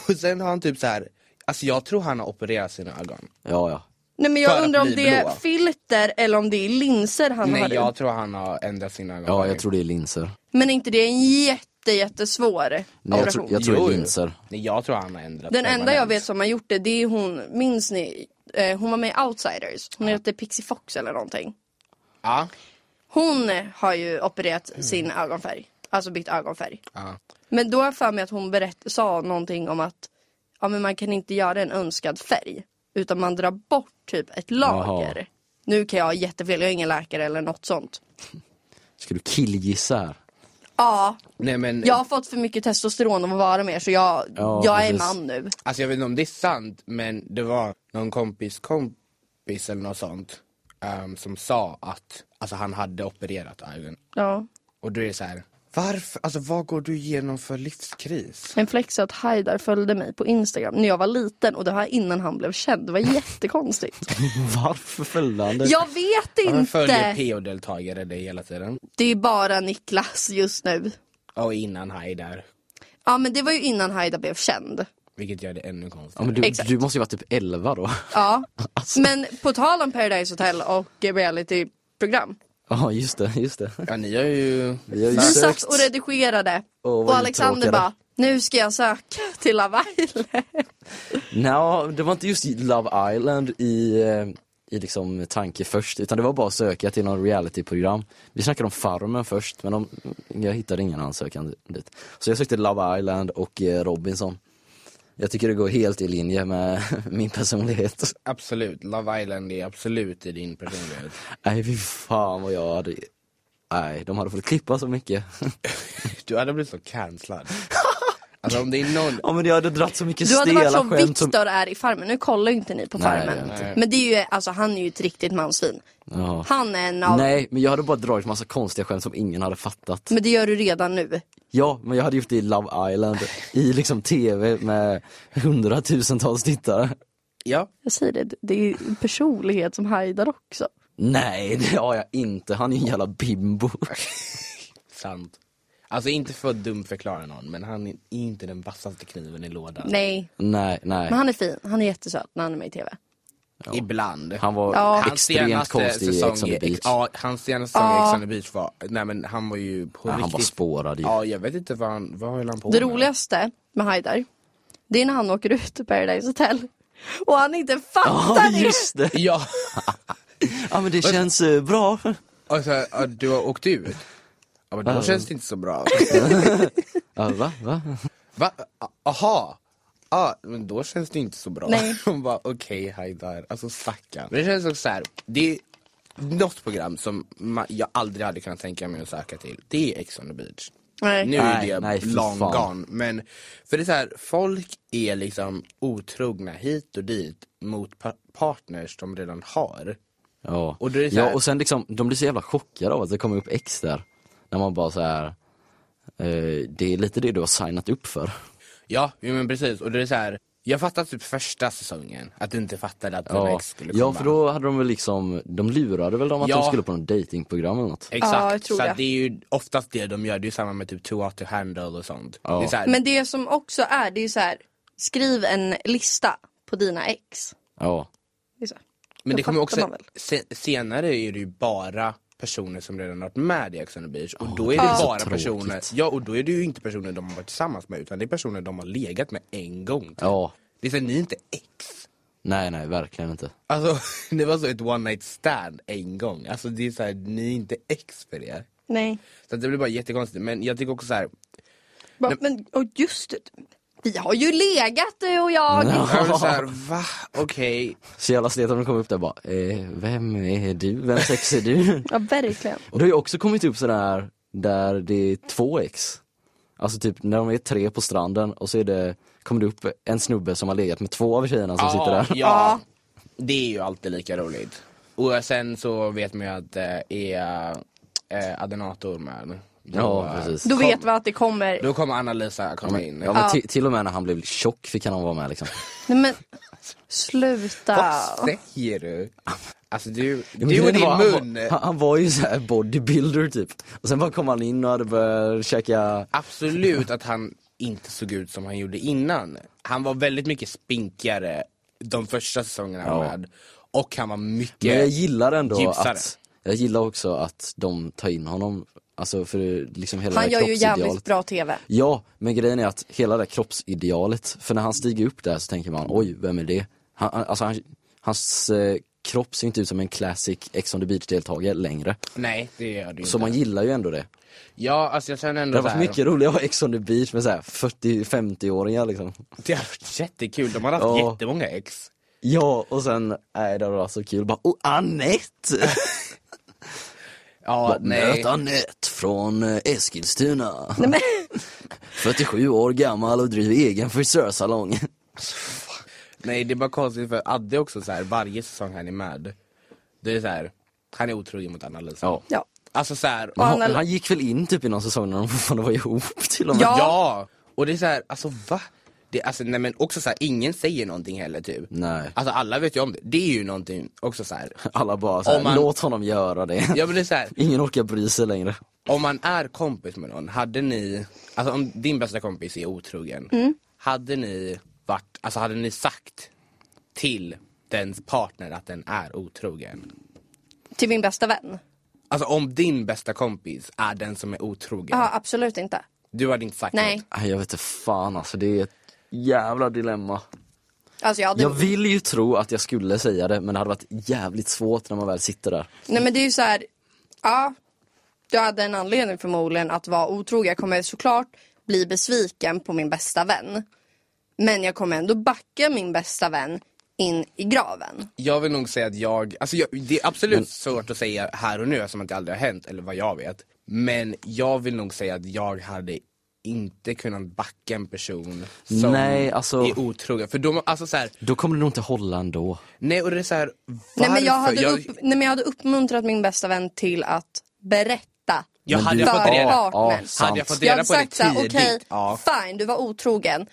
Och sen har han typ så här. alltså jag tror han har opererat sina ögon. Ja ja. Nej, men För jag att undrar om bli det är blå. filter eller om det är linser han Nej har i. jag tror han har ändrat sina ögon. Ja jag tror det är linser. Men är inte det är en jätte, jättesvår Nej, jag, operation? tror, jag tror det Jo, är jo. linser. Nej jag tror han har ändrat Den enda jag permanent. vet som har gjort det, det är hon, minns ni? Eh, hon var med i Outsiders. Hon heter Pixie Fox eller någonting. Ja. Hon har ju opererat sin ögonfärg. Alltså bytt ögonfärg. ja. Men då har jag för mig att hon berätt, sa någonting om att ja, men man kan inte göra en önskad färg. Utan man drar bort typ ett lager. Jaha. Nu kan jag ha jättefel, jag är ingen läkare eller något sånt. Ska du killgissa här? Ja, Nej men jag har fått för mycket testosteron av att vara med så jag, Ja, jag är precis. man nu. Alltså jag vet inte om det är sant, men det var någon kompis kompis eller något sånt ehm, som sa att alltså, han hade opererat ögon. Ja. Och då är det så här, varför, alltså vad går du igenom för livskris? En flex är att Haidar följde mig på Instagram när jag var liten och det här innan han blev känd. Det var jättekonstigt. Varför följde han dig? Jag vet Han följer inte! PO-deltagare det hela tiden. Det är bara Niklas just nu. Och innan Haidar, Ja men det var ju innan Haidar blev känd. vilket gör det ännu konstigare. Ja, men du, Exakt. du måste ju vara typ 11 då. Ja. Alltså. Men på tal om Paradise Hotel och eh, realityprogram. Ja just det, just det. Ja ni har ju... Vi har ju Vi satt sökt. och redigerade Åh, vad och Alexander uttråkade. bara, nu ska jag söka till Love Island. Nå, det var inte just Love Island i, eh, i liksom tanke först, utan det var bara att söka till någon realityprogram. Vi snackade om Farmen först, men de, jag hittade ingen ansökan dit. Så jag sökte Love Island och eh, Robinson. Jag tycker det går helt i linje med min personlighet. Absolut, Love Island är absolut i din personlighet. Nej fy fan vad jag hade... Nej, de hade fått klippa så mycket. Du hade blivit så cancellad. Alltså om det är någon, Ja men jag hade dratt så mycket Du hade varit stela som skämt som... Viktor är i Farmen, nu kollar ju inte ni på Nej, jag Farmen. inte. men det är ju, alltså han är ju ett riktigt mansvin. Ja. Han är en av, Nej, men jag hade bara dragit massa konstiga skämt som ingen hade fattat. men det gör du redan nu. Ja, men jag hade gjort det i Love Island, i liksom TV med hundratusentals tittare. ja. Jag säger det, det är ju personlighet som hajdar också. Nej, det har jag inte. Han är ju en jävla bimbo. Sant. Alltså inte för att dumförklara någon, men han är inte den vassaste kniven i lådan. Nej, Nej, nej. men han är fin, han är jättesöt när han är med i TV. Ibland. Han var Ja. Hans extremt senaste konstig i säsong Ex on the Beach. Ja, hans senaste säsong i Ja. Ex on the Beach var, nej men han var ju på Ja, han riktigt. bara spårade ju. Ja, jag vet inte vad han, vad höll han på Det med? roligaste med Haidar, det är när han åker ut ur Paradise Hotel och han inte Ja, fattar det! just det! Ja, Ja men det känns eh, bra. alltså, ja, du har åkt ut. Ja men då Ja. känns det inte så bra. Ja, va? va? Va? A- Aha! Ja, men då känns det inte så bra. Nej. Hon bara, okej Haidar, alltså stackarn. Men det känns också så här, det är något program som ma- jag aldrig hade kunnat tänka mig att söka till, det är Ex on the beach. Nu Nej. är Nej, det nej, fy long fan. gone, men för det är så här, folk är liksom otrogna hit och dit mot pa- partners de redan har. Ja. Och då är det så här- ja, och sen liksom, de blir så jävla chockade av att det kommer upp X där. När man bara så här. eh, det är lite det du har signat upp för. Ja, jo, men precis, och det är så här, jag fattade typ första säsongen att du inte fattade att ja. Ja. ex skulle komma. ja, för då hade de väl liksom, de lurade väl dem att Ja. de skulle på något datingprogram eller något. Exakt, Ja, jag tror så det. att det är ju oftast det de gör, det är ju samma med typ too hot to handle och sånt. Ja. Det är så här, Men det som också är, det är ju så här, skriv en lista på dina ex. Ja. Det är så här. men det då kommer fattar också, man väl. se, senare är det ju bara personer som redan har varit med i Ex on the Beach och då är det det är så bara tråkigt. personer, ja och då är det ju inte personer de har varit tillsammans med utan det är personer de har legat med en gång. typ. Ja. Det är så här, ni är inte ex. Nej, nej, verkligen inte. Alltså det var så ett one night stand en gång, alltså det är så här, ni är inte ex för det. Nej. Så att det blir bara jättekonstigt men jag tycker också så här, Va, men och just det, vi har ju legat du och jag. Ja. jag blir så här va? Okej, Så jävla slet om de kom upp där bara, eh, vem är du? Vem sex är du? Ja verkligen. Och det har ju också kommit upp sådär där det är två ex. Alltså typ när de är tre på stranden och så är det, kommer det upp en snubbe som har legat med två av tjejerna som Ja, sitter där. Ja, det är ju alltid lika roligt. Och sen så vet man ju att det är eh, Adenator med. Då, Ja, precis. Då vet vi att det kommer. Då kommer Anna-Lisa komma in. Ja, men ti- till och med när han blev tjock fick han vara med liksom. Nej men sluta. Vad säger du? Alltså du, Men du och det din var- han, mun. var- han, han var ju såhär bodybuilder typ. Och sen bara kom han in och hade börjat käka, Absolut att han inte såg ut som han gjorde innan. Han var väldigt mycket spinkigare de första säsongerna han var Ja. med. Och han var mycket... men jag gillar ändå Gipsare. att, jag gillar också att de tar in honom, alltså för liksom hela Han det gör ju kroppsidealet. jävligt bra TV. Ja, men grejen är att hela det här kroppsidealet, för när han stiger upp där så tänker man oj, vem är det? Han, han- alltså, han, hans eh, kropp ser inte ut som en classic Ex on the beach-deltagare längre. Nej, det gör du Så inte. man gillar ju ändå det. Ja, alltså jag känner ändå Det har så varit här- mycket roligare att vara Ex on the beach med såhär 40-50-åringar liksom. Det har varit jättekul, de har haft Ja. jättemånga ex. Ja, och sen, nej det var så kul, bara oh, Anette! Ja, Bara, Möt Anette från eh, Eskilstuna. 47 år gammal och driver egen frisörsalong. Nej det är bara konstigt för Adde är också så här varje säsong han är med, det är så här han är otrogen mot Anna-Lisa. Ja. Ja. Alltså så här, Men ja. han, han- han gick väl in typ i någon säsong när de fortfarande var ihop till och med. Ja. Och det är så här, alltså va? Det, alltså, nej, men också så här, ingen säger någonting heller typ. Nej. Alltså alla vet ju om det, det är ju någonting också så här. Alla bara såhär, Om man- låt honom göra det. Ja men det är så här, Ingen orkar bry sig längre. om man är kompis med någon, hade ni, alltså om din bästa kompis är otrogen, Mm. hade ni varit, alltså hade ni sagt till dens partner att den är otrogen? Till min bästa vän. Alltså om din bästa kompis är den som är otrogen, Ja absolut inte. du hade inte sagt Nej. något? Nej, Jag vet inte fan alltså, det är ett jävla dilemma. Alltså jag hade... Jag vill ju tro att jag skulle säga det, men det hade varit jävligt svårt när man väl sitter där. Nej men det är ju så här. Ja. Du hade en anledning förmodligen att vara otrogen. Jag kommer såklart bli besviken på min bästa vän. Men jag kommer ändå backa min bästa vän in i graven. Jag vill nog säga att jag, alltså jag, det är absolut svårt att säga här och nu eftersom att det aldrig har hänt, eller vad jag vet. Men jag vill nog säga att jag hade inte kunnat backa en person som Nej, alltså- är otrogen. För då, alltså så här, Då kommer det nog inte hålla ändå. nej och det är så här, varför? Nej men, jag hade upp, nej men jag hade uppmuntrat min bästa vän till att berätta jag Men hade du- jag fått För reda partnern. Ja, hade sant. jag fått Jag reda hade på det sagt såhär, tidigt. okej, ja. fine, du var otrogen.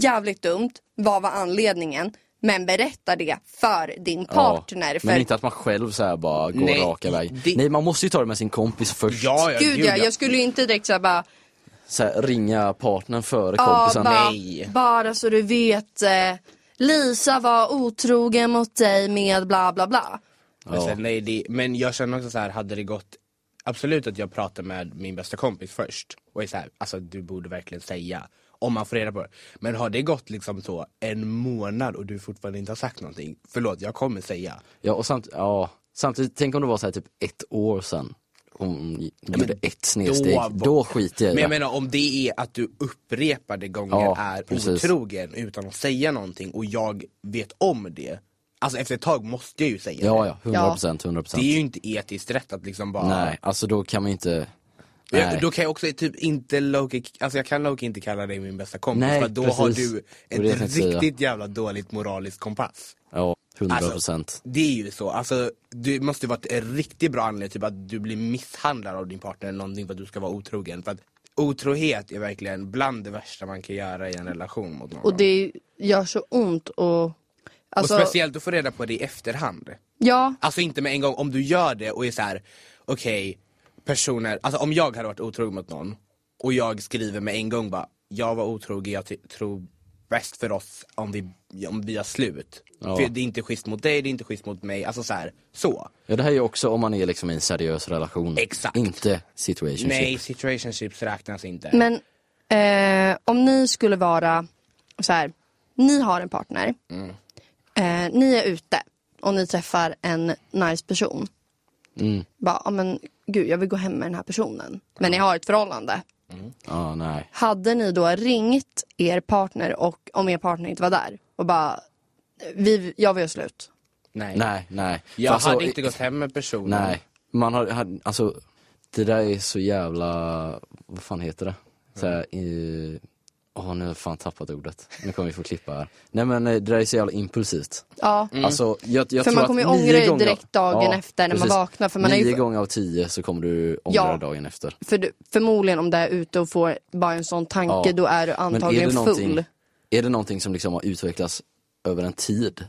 Jävligt dumt. Vad var anledningen? Men berätta det för din partner. Ja. för Men inte att man själv så här bara går Nej, raka väg. det- Nej, man måste ju ta det med sin kompis först. Ja, ja, Gud ja, ja. jag skulle ju inte direkt såhär bara, Så här, ringa partnern före "Ja, kompisen. bara, nej. bara så du vet, eh, Lisa var otrogen mot dig med bla bla bla. Men, så här, nej, det, men jag känner också så här, hade det gått Absolut att jag pratar med min bästa kompis först och är så här, alltså du borde verkligen säga om man får reda på det. Men har det gått liksom så en månad och du fortfarande inte har sagt någonting, förlåt jag kommer säga. Ja, och samt, ja, samtidigt, tänk om det var så här typ ett år sedan. Hon gjorde ett snedsteg. var- Då, skiter jag i Men det. jag menar om det är att du upprepade gånger Ja, är precis. otrogen utan att säga någonting och jag vet om det, alltså efter ett tag måste jag ju säga Ja, det. ja, 100 procent, 100 Det procent. är ju inte etiskt rätt att liksom bara Nej, alltså då kan man ju inte... Jag, Nej. då kan jag också typ inte Loki, alltså jag kan Loki inte kalla dig min bästa kompis Nej, för då har precis. du Det var det jag ett tänkte säga. riktigt jävla dåligt moraliskt kompass. Ja, 100 procent. Alltså, det är ju så, alltså det måste ju varit en riktigt bra anledning typ att du blir misshandlad av din partner eller någonting för att du ska vara otrogen. För att otrohet är verkligen bland det värsta man kan göra i en relation mot någon. Och det gör så ont och... Alltså, och speciellt att få reda på det i efterhand. ja, Alltså inte med en gång, om du gör det och är så här: okej, personer, alltså om jag hade varit otrogen mot någon och jag skriver med en gång bara, jag var otrogen, jag ty- tror bäst för oss om vi, om vi gör slut. Ja. För det är inte schysst mot dig, det är inte schysst mot mig, alltså så här, så. Ja, det här är ju också om man är liksom i en seriös relation. Exakt. Inte situationship. Nej, situationships räknas inte. Men eh, om ni skulle vara så här, ni har en partner, Mm. eh, ni är ute och ni träffar en nice person. Mm. Bara, ja men gud jag vill gå hem med den här personen. Men ni har ett förhållande. Ja, nej. Hade ni då ringt er partner och om er partner inte var där och bara, vi, jag vill göra slut. nej. Nej, nej. För Jag alltså, hade inte gått hem med personen. Nej. Man har, har, alltså, det där är så jävla, vad fan heter det? Såhär, mm. åh nu har jag fan tappat ordet. Nu kommer vi få klippa här. Nej men eh, det där är så jävla impulsivt. Ja. Mm. Alltså, jag, jag För tror man att kommer ju nio ångra det gånger- direkt dagen efter när man vaknar, för man har nio ju- gånger av tio så kommer du ångra Ja. det dagen efter. För du, förmodligen om du är ute och får bara en sån tanke Ja. då är du Men antagligen någonting- full. Är det någonting som liksom har utvecklats över en tid,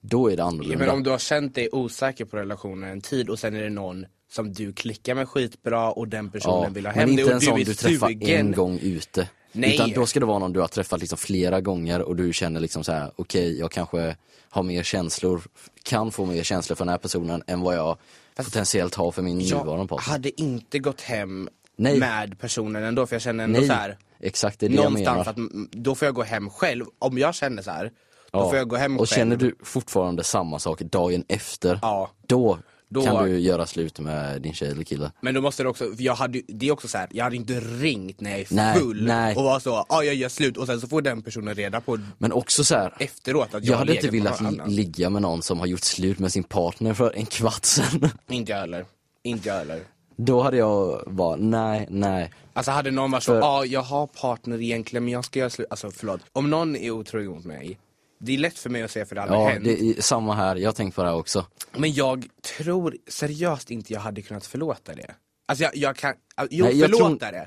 då är det annorlunda. Ja, men om du har känt dig osäker på relationen en tid och sen är det någon som du klickar med skitbra och den personen vill ha hem men dig och inte en du sån är du träffar sugen. en gång ute. Nej. Utan då ska det vara någon du har träffat liksom flera gånger och du känner liksom så här: okej jag kanske har mer känslor, kan få mer känslor för den här personen än vad jag potentiellt har för min nuvarande Jag partner. hade inte gått hem Nej. med personen ändå för jag känner ändå Nej, så här, exakt det är det jag menar. någonstans att mm, då får jag gå hem själv. Om jag känner så här, då Ja. får jag gå hem och själv. känner du fortfarande samma sak dagen efter, Ja. då, Då- kan du göra slut med din tjej eller kille. Men då måste det också, för jag hade, ju- det är också så här, jag hade inte ringt när jag är Nej, full nej. och var så, ja jag gör slut och sen så får den personen reda på Men också så här. efteråt att jag, Jag hade inte legat med velat någon li- annan. ligga med någon som har gjort slut med sin partner för en kvart sedan. Inte jag heller. Inte jag heller. Då hade jag bara, nej, nej. Alltså hade någon varit så, För- ja jag har partner egentligen men jag ska göra slut, alltså förlåt. Om någon är otrogen mot mig, det är lätt för mig att säga för det har aldrig Ja, hänt. det är samma här. Jag har tänkt på det här också. Men jag tror seriöst inte jag hade kunnat förlåta det. Alltså jag, jag kan, jo Nej, jag förlåta det.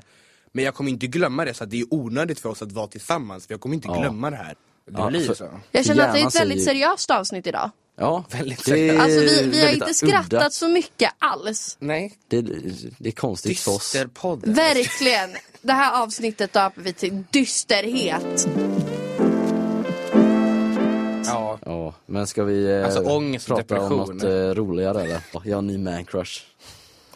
Men jag kommer inte glömma det så att det är onödigt för oss att vara tillsammans för jag kommer inte glömma det här. Det Ja, blir för- så. Jag känner att det är ett Hjärnan väldigt säger- seriöst avsnitt idag. Ja, Väldigt det är säkert. Alltså vi, vi har väldigt inte skrattat udda. så mycket alls. Nej, Det, det är konstigt för oss. dysterpodden. Verkligen. Det här avsnittet döper vi till dysterhet. Ja. Ja, men ska vi eh, Alltså, ångest och prata om depression. något eh, roligare eller? Ja, Jag har en ny man crush.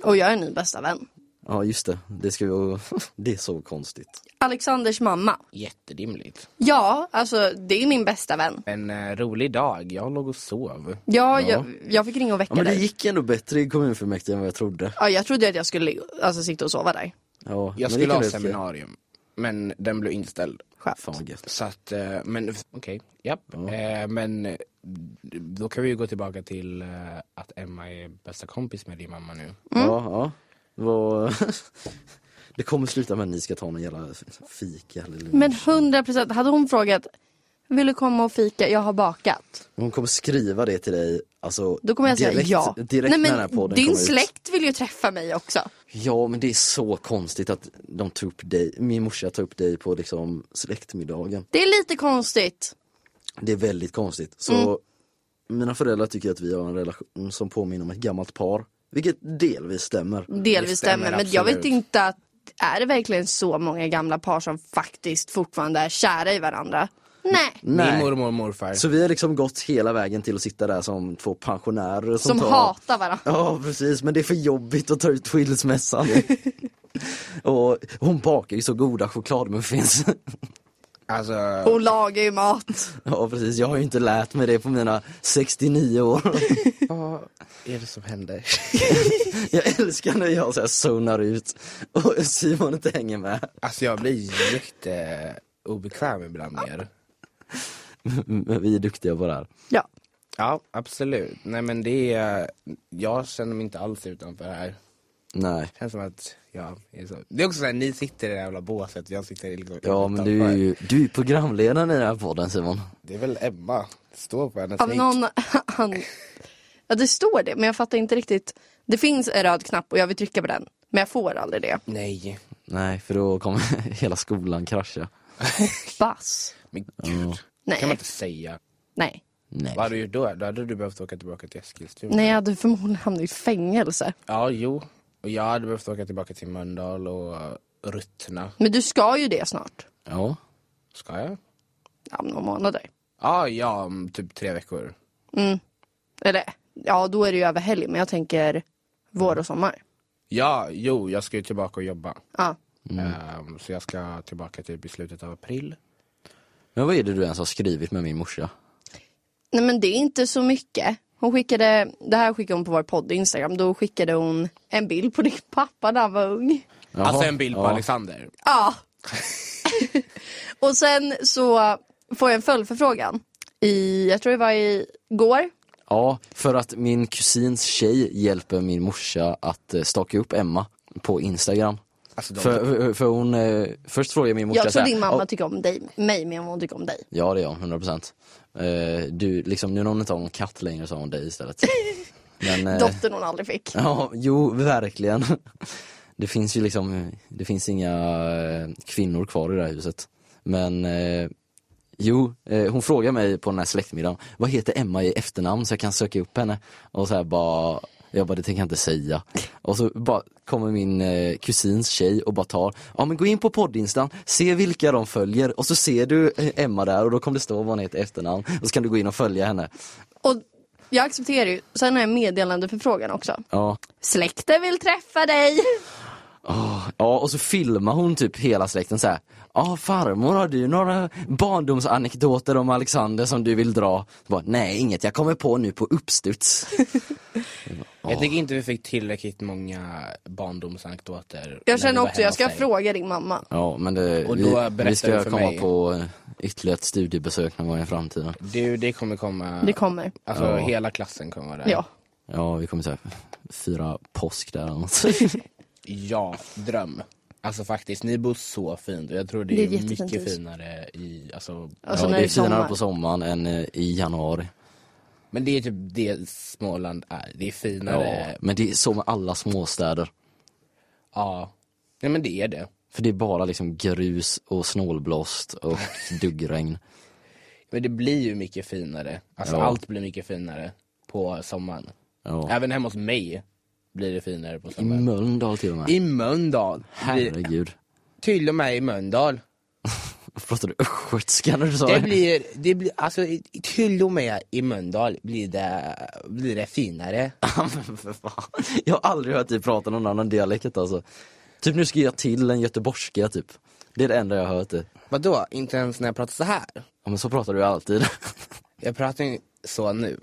Och jag är ny bästa vän. Ja, just det. Det, ska vi... det är så konstigt. Alexanders mamma. Jätterimligt. Ja, alltså det är min bästa vän. En eh, rolig dag, jag låg och sov. Ja, Jag, jag fick ringa och väcka Ja, men det dig. gick ändå bättre i kommunfullmäktige än vad jag trodde. Ja, jag trodde att jag skulle alltså, sitta och sova där. Ja, men det Jag skulle ha gick ändå bättre. seminarium, men den blev inställd. Skönt. Fan vad gött. Så att, eh, men f- okej, japp. Eh, Men eh, då kan vi ju gå tillbaka till eh, Mm. att Emma är bästa kompis med din mamma nu. Ja, ja. Vad- Det kommer sluta med att ni ska ta någon jävla fika eller lunch. Men 100% hade hon frågat, vill du komma och fika? Jag har bakat. Hon kommer skriva det till dig, alltså Då kommer jag säga direkt, ja. direkt Nej, men när den här podden din kommer ut. släkt vill ju träffa mig också. Ja men det är så konstigt att de tog upp dig, min morsa tog upp dig på liksom släktmiddagen. Det är lite konstigt. Det är väldigt konstigt. Så Mm. mina föräldrar tycker att vi har en relation som påminner om ett gammalt par. Vilket delvis stämmer. Det Delvis stämmer, stämmer, men jag vet absolut. inte att är det verkligen så många gamla par som faktiskt fortfarande är kära i varandra? Nej. Min Nej. mormor och morfar. Så vi har liksom gått hela vägen till att sitta där som två pensionärer som, Som tar... hatar varandra. Ja precis, men det är för jobbigt att ta ut skilsmässan. och hon bakar ju så goda chokladmuffins. Alltså, Hon lagar ju mat. ja precis, jag har ju inte lärt mig det på mina 69 år. vad är det som händer? jag älskar när jag så här zonar ut och Simon inte hänger med. Alltså jag blir jätteobekväm ibland med er. Men vi är duktiga på det här. Ja. Ja, absolut. Nej men det är, jag känner mig inte alls utanför här. Nej. Känns som att jag är så. Det är också såhär, ni sitter i det här jävla båset, jag sitter liksom Ja men du är utanför. ju du är programledaren i den här podden Simon. Det är väl Emma, står på hennes Av nick. någon... Han... Ja, det står det, men jag fattar inte riktigt. Det finns en röd knapp och jag vill trycka på den, men jag får aldrig det. Nej, Nej för då kommer hela skolan krascha. Bass. men gud. Nej. kan man inte säga. Nej. Nej. Vad hade du gjort då? Då hade du behövt åka tillbaka till Eskilstuna. Nej, jag hade förmodligen hamnat i fängelse. Ja, jo. Och jag hade behövt åka tillbaka till Mölndal och eh, Ruttna. Men du ska ju det snart. Ja. Ska jag? Ja, om några månader. Ja, ja, om typ tre veckor. Eller, ja, då är det ju över helg, men jag tänker vår och sommar. Ja, jo, jag ska ju tillbaka och jobba. Ja. Mm. Ehm, så jag ska tillbaka till beslutet av april. Men vad är det du ens har skrivit med min morsa? Nej men det är inte så mycket. Hon skickade, det här skickade hon på vår podd Instagram, då skickade hon en bild på din pappa när han var ung. Jaha, alltså en bild på ja. Alexander. Ja. och sen så får jag en följdförfrågan. I, jag tror det var i går. Ja, för att min kusins tjej hjälper min morsa att eh, staka upp Emma på Instagram. Alltså, de, För, för hon, eh, först frågade min morsa jag så tror här, din mamma "Ja, tycker om dig, mig mer än vad hon tycker om dig. Ja det gör hon, 100 procent. Du, liksom, nu när hon inte har någon katt längre så har hon dig istället. Men, eh, Dottern hon aldrig fick. Ja, jo verkligen. Det finns ju liksom, det finns inga eh, kvinnor kvar i det här huset. Men eh, jo, eh, hon frågar mig på den här släktmiddagen, vad heter Emma i efternamn så jag kan söka upp henne? Och så här bara, jag bara det tänker jag inte säga. Och så bara kommer min eh, kusins tjej och bara tar, ja men gå in på poddinstan, se vilka de följer och så ser du eh, Emma där och då kommer det stå vad hon heter i efternamn och så kan du gå in och följa henne. Och jag accepterar ju, sen har jag meddelande för frågan också. Ja. Släkten vill träffa dig! Ja, och så filmar hon typ hela släkten så här. Ja, farmor, har du några barndomsanekdoter om Alexander som du vill dra? Så Bara, Nej, inget. Jag kommer på nu på uppstuds. jag tycker inte vi fick tillräckligt många barndomsanekdoter. när Jag vi känner var också, hemma jag ska hos dig. fråga din mamma. Ja, men det, Och då vi, berättar vi du ska för komma mig. på eh, ytterligare ett studiebesök någon gång i framtiden. Du, det kommer komma. Det kommer. Alltså Ja. hela klassen kommer vara där. Ja. Ja, vi kommer så här, fira påsk där eller något. Ja, dröm. Alltså faktiskt, ni bor så fint och jag tror det Det är är, ett jättefint mycket hus. finare i, alltså, Alltså ja, när det är det är finare sommar. på sommaren än eh, i januari. Men det är typ det Småland är, det är Ja, finare. Ja. men det är så med alla småstäder. ja. Nej men det är det. För det är bara liksom grus och snålblåst och duggregn. Men det blir ju mycket finare. Alltså Ja. allt blir mycket finare på sommaren. Ja. Även hemma hos mig blir det finare på I sommaren. Mölndal till och med. I Mölndal. Blir, Herregud. till och med i Mölndal. Pratar du östgötska när du sa Det det? blir, det blir, alltså i- till och med i Mölndal blir det, blir det finare. Ja, men för fan. Jag har aldrig hört dig prata någon annan dialekt alltså. Typ nu ska jag till en göteborgska typ. Det är det enda jag har hört dig. Vadå, inte ens när jag pratar så här? Ja men så pratar du alltid. Jag pratar ju så nu.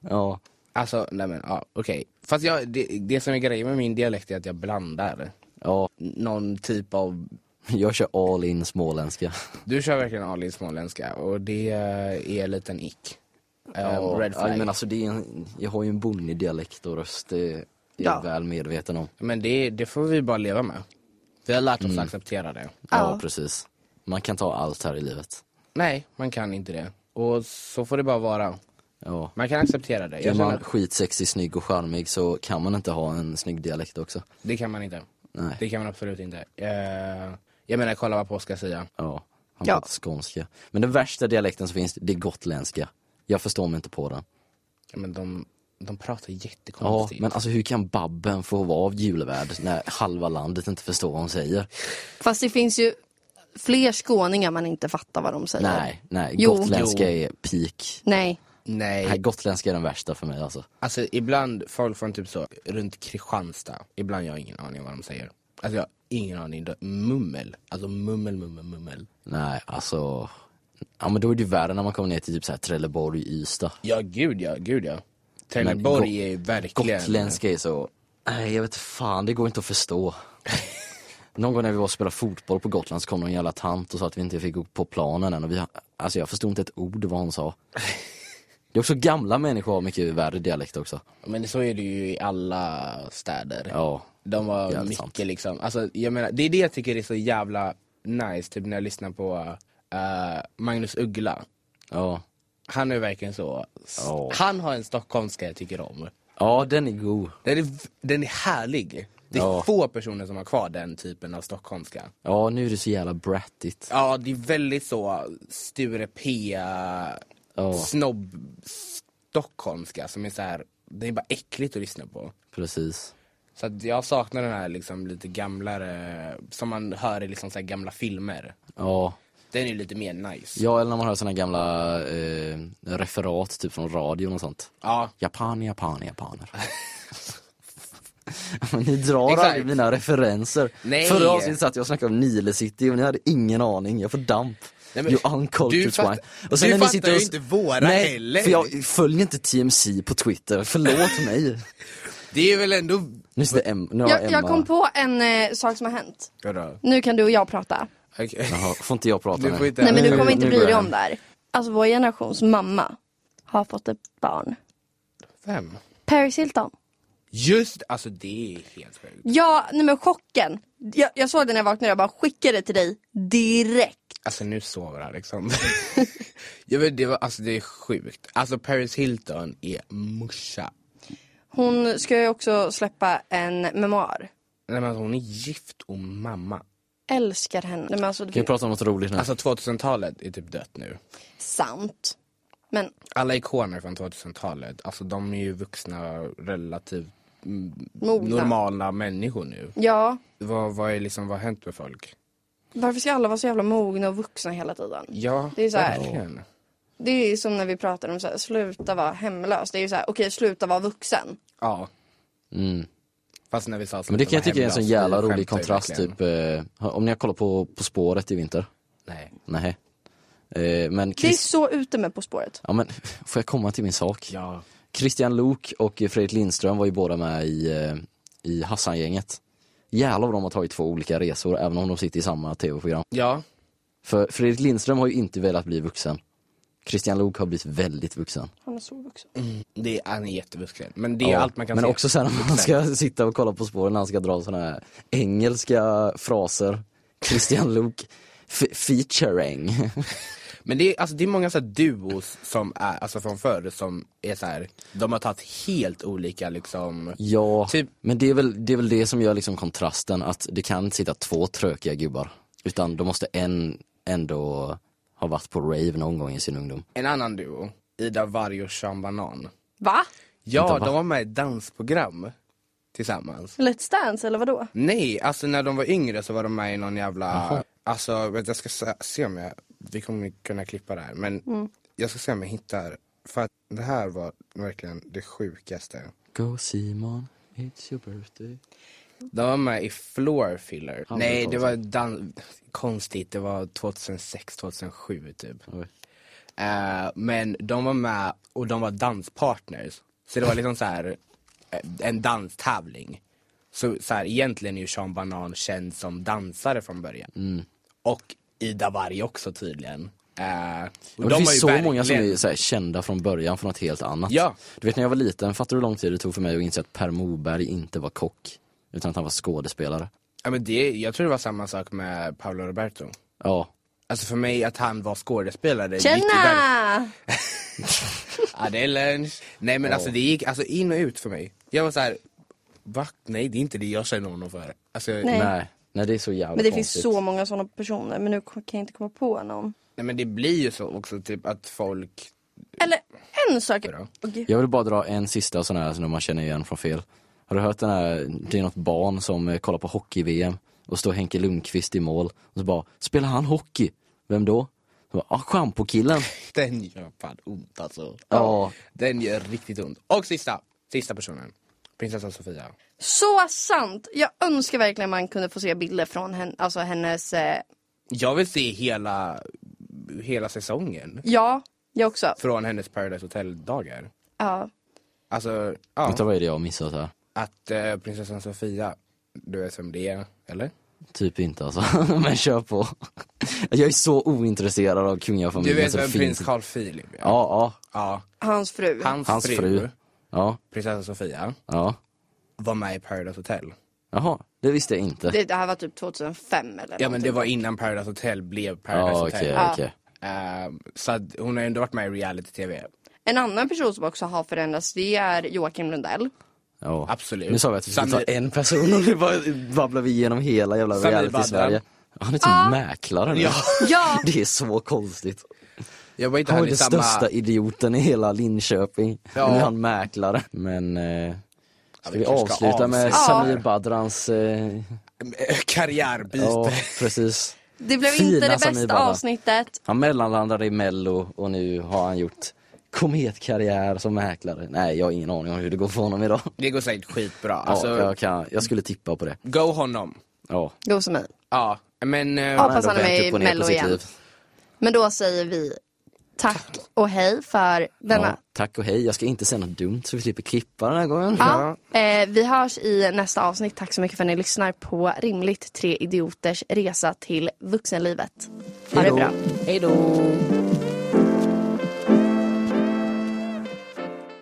Ja. Alltså, nej men ja, okej. Fast jag, det, det som är grejen med min dialekt är att jag blandar Ja, någon typ av... jag kör all in småländska. Du kör verkligen Ali småländska och det är lite en ick. Ehm, red Ja, flag. men men, alltså det är en, jag har ju en bonnig dialekt och röst, det är jag Ja. väl medveten om. det, det får vi bara leva med. Mm. Vi har lärt oss att acceptera det. Ja, Ja. precis. Man kan ta allt här i livet. Nej, man kan inte det. Och så får det bara vara. Ja. Man kan acceptera det. Är Jag känner man att skitsexig, snygg och charmig så kan man inte ha en snygg dialekt också. det kan man inte. Nej. Det kan man absolut inte. Eh, jag menar, kolla vad på ska säga. Ja, han Ja. pratar skånska. Men den värsta dialekten som finns, det är gotländska. Jag förstår mig inte på den. Ja, Men de, de pratar Ja, jättekonstigt. men alltså hur kan Babben få vara av julvärd när halva landet inte förstår vad hon säger? Fast det finns ju fler skåningar man inte fattar vad de säger. Nej, nej, Jo. gotländska Jo. är peak. Nej. Nej, Nej, gotländska är den värsta för mig alltså. alltså ibland folk från typ så runt Kristianstad, ibland jag har ingen aning vad de säger. Alltså jag har ingen aning. De- Mummel. Alltså mummel, mummel, mummel. Nej, alltså. Ja men då är det ju värre när man kommer ner till typ så här Trelleborg, Ystad. Ja, gud ja, gud ja. Men Trelleborg go- är ju verkligen... Gotländska är så, nej jag vet fan, det går inte att förstå. Någon gång när vi var och spelade fotboll på Gotland så kom någon jävla tant och sa att vi inte fick gå på planen än och vi, alltså jag förstod inte ett ord vad hon sa. Det är också gamla människor har mycket värre dialekt också. Men så är det ju i alla städer. Ja, De var Jävligt mycket sant. liksom, alltså jag menar, det är det jag tycker är så jävla nice, typ när jag lyssnar på eh, Magnus Uggla. ja. Han är verkligen så, Ja. han har en stockholmska jag tycker om. Ja den är god. Den är, v- den är härlig. Det är Ja. få personer som har kvar den typen av stockholmska. Ja nu är det så jävla brattigt. Ja, det är väldigt så Sture P, Ja snobb-stockholmska som är så här. det är bara äckligt att lyssna på. precis. Så att jag saknar den här liksom lite gamlare, som man hör i liksom så här gamla filmer. Ja. Den är lite mer nice. ja eller när man hör såna gamla eh, referat typ från radion och sånt. Ja, Japan, japan, japaner. Men ni drar Exakt. aldrig mina referenser. Nej. Förra avsnittet satt jag och snackade om Nile City och ni hade ingen aning, jag får damp. Nej, men you du uncultured fatt- swine. du när ni fattar sitter ju inte våra Nej, heller. för jag följer inte TMC på Twitter, förlåt mig. det är väl ändå... Nu sitter Em- nu har Jag, Emma... jag kom på en eh, sak som har hänt. Vadå? Nu kan du och jag prata. Okej. Jaha, får inte jag prata Du får nu? inte- Nej men du kommer inte nu bry går dig jag. om det här. Alltså vår generations mamma har fått ett barn. Vem? Paris Hilton. Just alltså det är helt sjukt. Ja, nej men chocken. Jag, jag såg den när jag vaknade jag bara skickade det till dig direkt. Alltså nu sover Alexander. jag vet, det, var, alltså, det är sjukt. Alltså Paris Hilton är morsa. Hon ska ju också släppa en memoar. Nej, men alltså, hon är gift och mamma. Älskar henne. Nej, men alltså, det Kan vi är prata om något roligt nu? Alltså 2000-talet är typ dött nu. sant. Men Alla ikoner från 2000-talet, alltså de är ju vuxna relativt mm, Mogna. normala människor nu. ja, Vad, vad är liksom, vad har hänt med folk? varför ska alla vara så jävla mogna och vuxna hela tiden? Ja, Det är så här. verkligen. Det är ju som när vi pratar om så här, sluta vara hemlös. Det är ju så här, okej sluta vara vuxen. Ja. Mm. Fast när vi sa så Men det kan jag tycka är en sån jävla rolig skämtar ju kontrast alltså verkligen. typ, eh, om ni har kollat på På spåret i vinter? Nej. Nej. Eh, men Det är Chris... så ute med På spåret. Ja men, får jag komma till min sak? Ja. Christian Lok och Fredrik Lindström var ju båda med i, eh, i Hassan-gänget. Jävlar vad de har tagit två olika resor även om de sitter i samma tv-program. Ja. För Fredrik Lindström har ju inte velat bli vuxen. Christian Lok har blivit väldigt vuxen. Han är så vuxen. Mm. Det är, han är jättevuxen. Men det är Ja, allt man kan Men se. också sen när man ska sitta och kolla På spåren när han ska dra sådana här engelska fraser. Christian Lok f- featuring. Men det är, alltså, det är många så här duos som är, alltså från förr som är så här. de har tagit helt olika liksom. ja, Typ- men det är, väl, det är väl det som gör liksom kontrasten att det kan inte sitta två trökiga gubbar. Utan då måste en ändå ha varit på rave någon gång i sin ungdom. En annan duo, Ida Varg och Sean Banan. Va? Ja, Vänta, va? de var med i ett dansprogram tillsammans. Let's Dance eller vadå? Nej, alltså när de var yngre så var de med i någon jävla, alltså vet, jag ska se- se om jag, vi kommer kunna klippa det här men jag ska se om jag hittar, för att det här var verkligen det sjukaste. Go Simon, it's your birthday. De var med i Floor Filler. Han Nej, var det var dan- konstigt. Det var 2006, 2007 typ. Oj. Eh, men de var med och de var danspartners. Så det var liksom så här eh, en danstävling. Så, så här, egentligen är ju Sean Banan känd som dansare från början. Mm. Och Ida Warg också tydligen. Eh, och Och det har ju finns så många som verkligen- är så här, kända från början för något helt annat. Ja. Du vet när jag var liten, fattar du hur lång tid det tog för mig att inse att Per Morberg inte var kock? Utan att han var skådespelare. Ja, men det, jag tror det var samma sak med Paolo Roberto. Ja. Alltså för mig att han var skådespelare gick ju väldigt- Tjena! Ja det är lunch. Nej men alltså det gick alltså in och ut för mig. Jag var så här. va? Nej det är inte det jag känner honom för. Alltså, nej. Nej. Nej. Nej det är så jävla Men det konstigt. finns så många sådana personer men nu kan jag inte komma på någon. men det blir ju så också typ att folk, Eller en sak jag. Jag vill bara dra en sista sån här som man känner igen från fel. Har du hört den här, det är något barn som eh, kollar på hockey-VM och står Henke Lundqvist i mål och så bara, spelar han hockey? Vem då? Så bara, ah, schampokillen. den gör fan ont alltså. Ja. Den gör riktigt ont. Och sista, sista personen. Prinsessan Sofia. Så sant! Jag önskar verkligen man kunde få se bilder från henne, alltså hennes, eh, Jag vill se hela, hela säsongen. ja, jag också. Från hennes Paradise Hotel-dagar. Ja. Alltså, Vet du ja. vad är det jag har missat här? Att eh, prinsessan Sofia, du är som det är, eller? Typ inte alltså, men kör på. Jag är så ointresserad av Du kungafamiljen vet så det vem finns prins inte. Carl Philip är? alltså Ja, ja, ja. Hans fru. Hans, Hans fru, fru. ja, prinsessan Sofia, ja. var med i Paradise Hotel. Jaha, det visste jag inte. Det, det här var typ 2005 eller Ja men det någonting. var innan Paradise Hotel blev Paradise typ. Hotel. Ja, okej, Ja. okej. Ehm, så att hon har ju ändå varit med i reality-tv. En annan person som också har förändrats det är Joakim Lundell. Ja. Absolut. Nu sa vi att vi skulle ta Samir- en person och nu bara babblar vi igenom hela jävla Samir reality i Badran. Sverige. Han är typ mäklare nu. Ja. Ja! Det är så konstigt. Jag var inte Han han var i den samma... största idioten i hela Linköping. Ja. Nu är han mäklare. Men eh, ska vi vi kanske ska avsluta med avsluta. Samir Badrans... Eh, Karriärbyte. ja, precis. Det blev Fina inte det Samir bästa Badran. avsnittet. Han mellanlandade i Mello och nu har han gjort kometkarriär som mäklare. Nej, jag har ingen aning om hur det går för honom idag. Det går säkert skitbra. Alltså, Alltså, ja, jag, kan, jag skulle tippa på det. go honom. Ja. Go som mig. Ja, men... eh, Ja. Hoppas ändå han är med vänt i upp och ner på Mello sitt igen. liv. Men då säger vi tack och hej för denna. Ja, tack och hej, jag ska inte säga något dumt så vi slipper klippa den här gången. Ja. Eh, vi hörs i nästa avsnitt. Tack så mycket för att ni lyssnar på Rimligt Tre Idioters Resa till Vuxenlivet. Ha det bra. Hej då!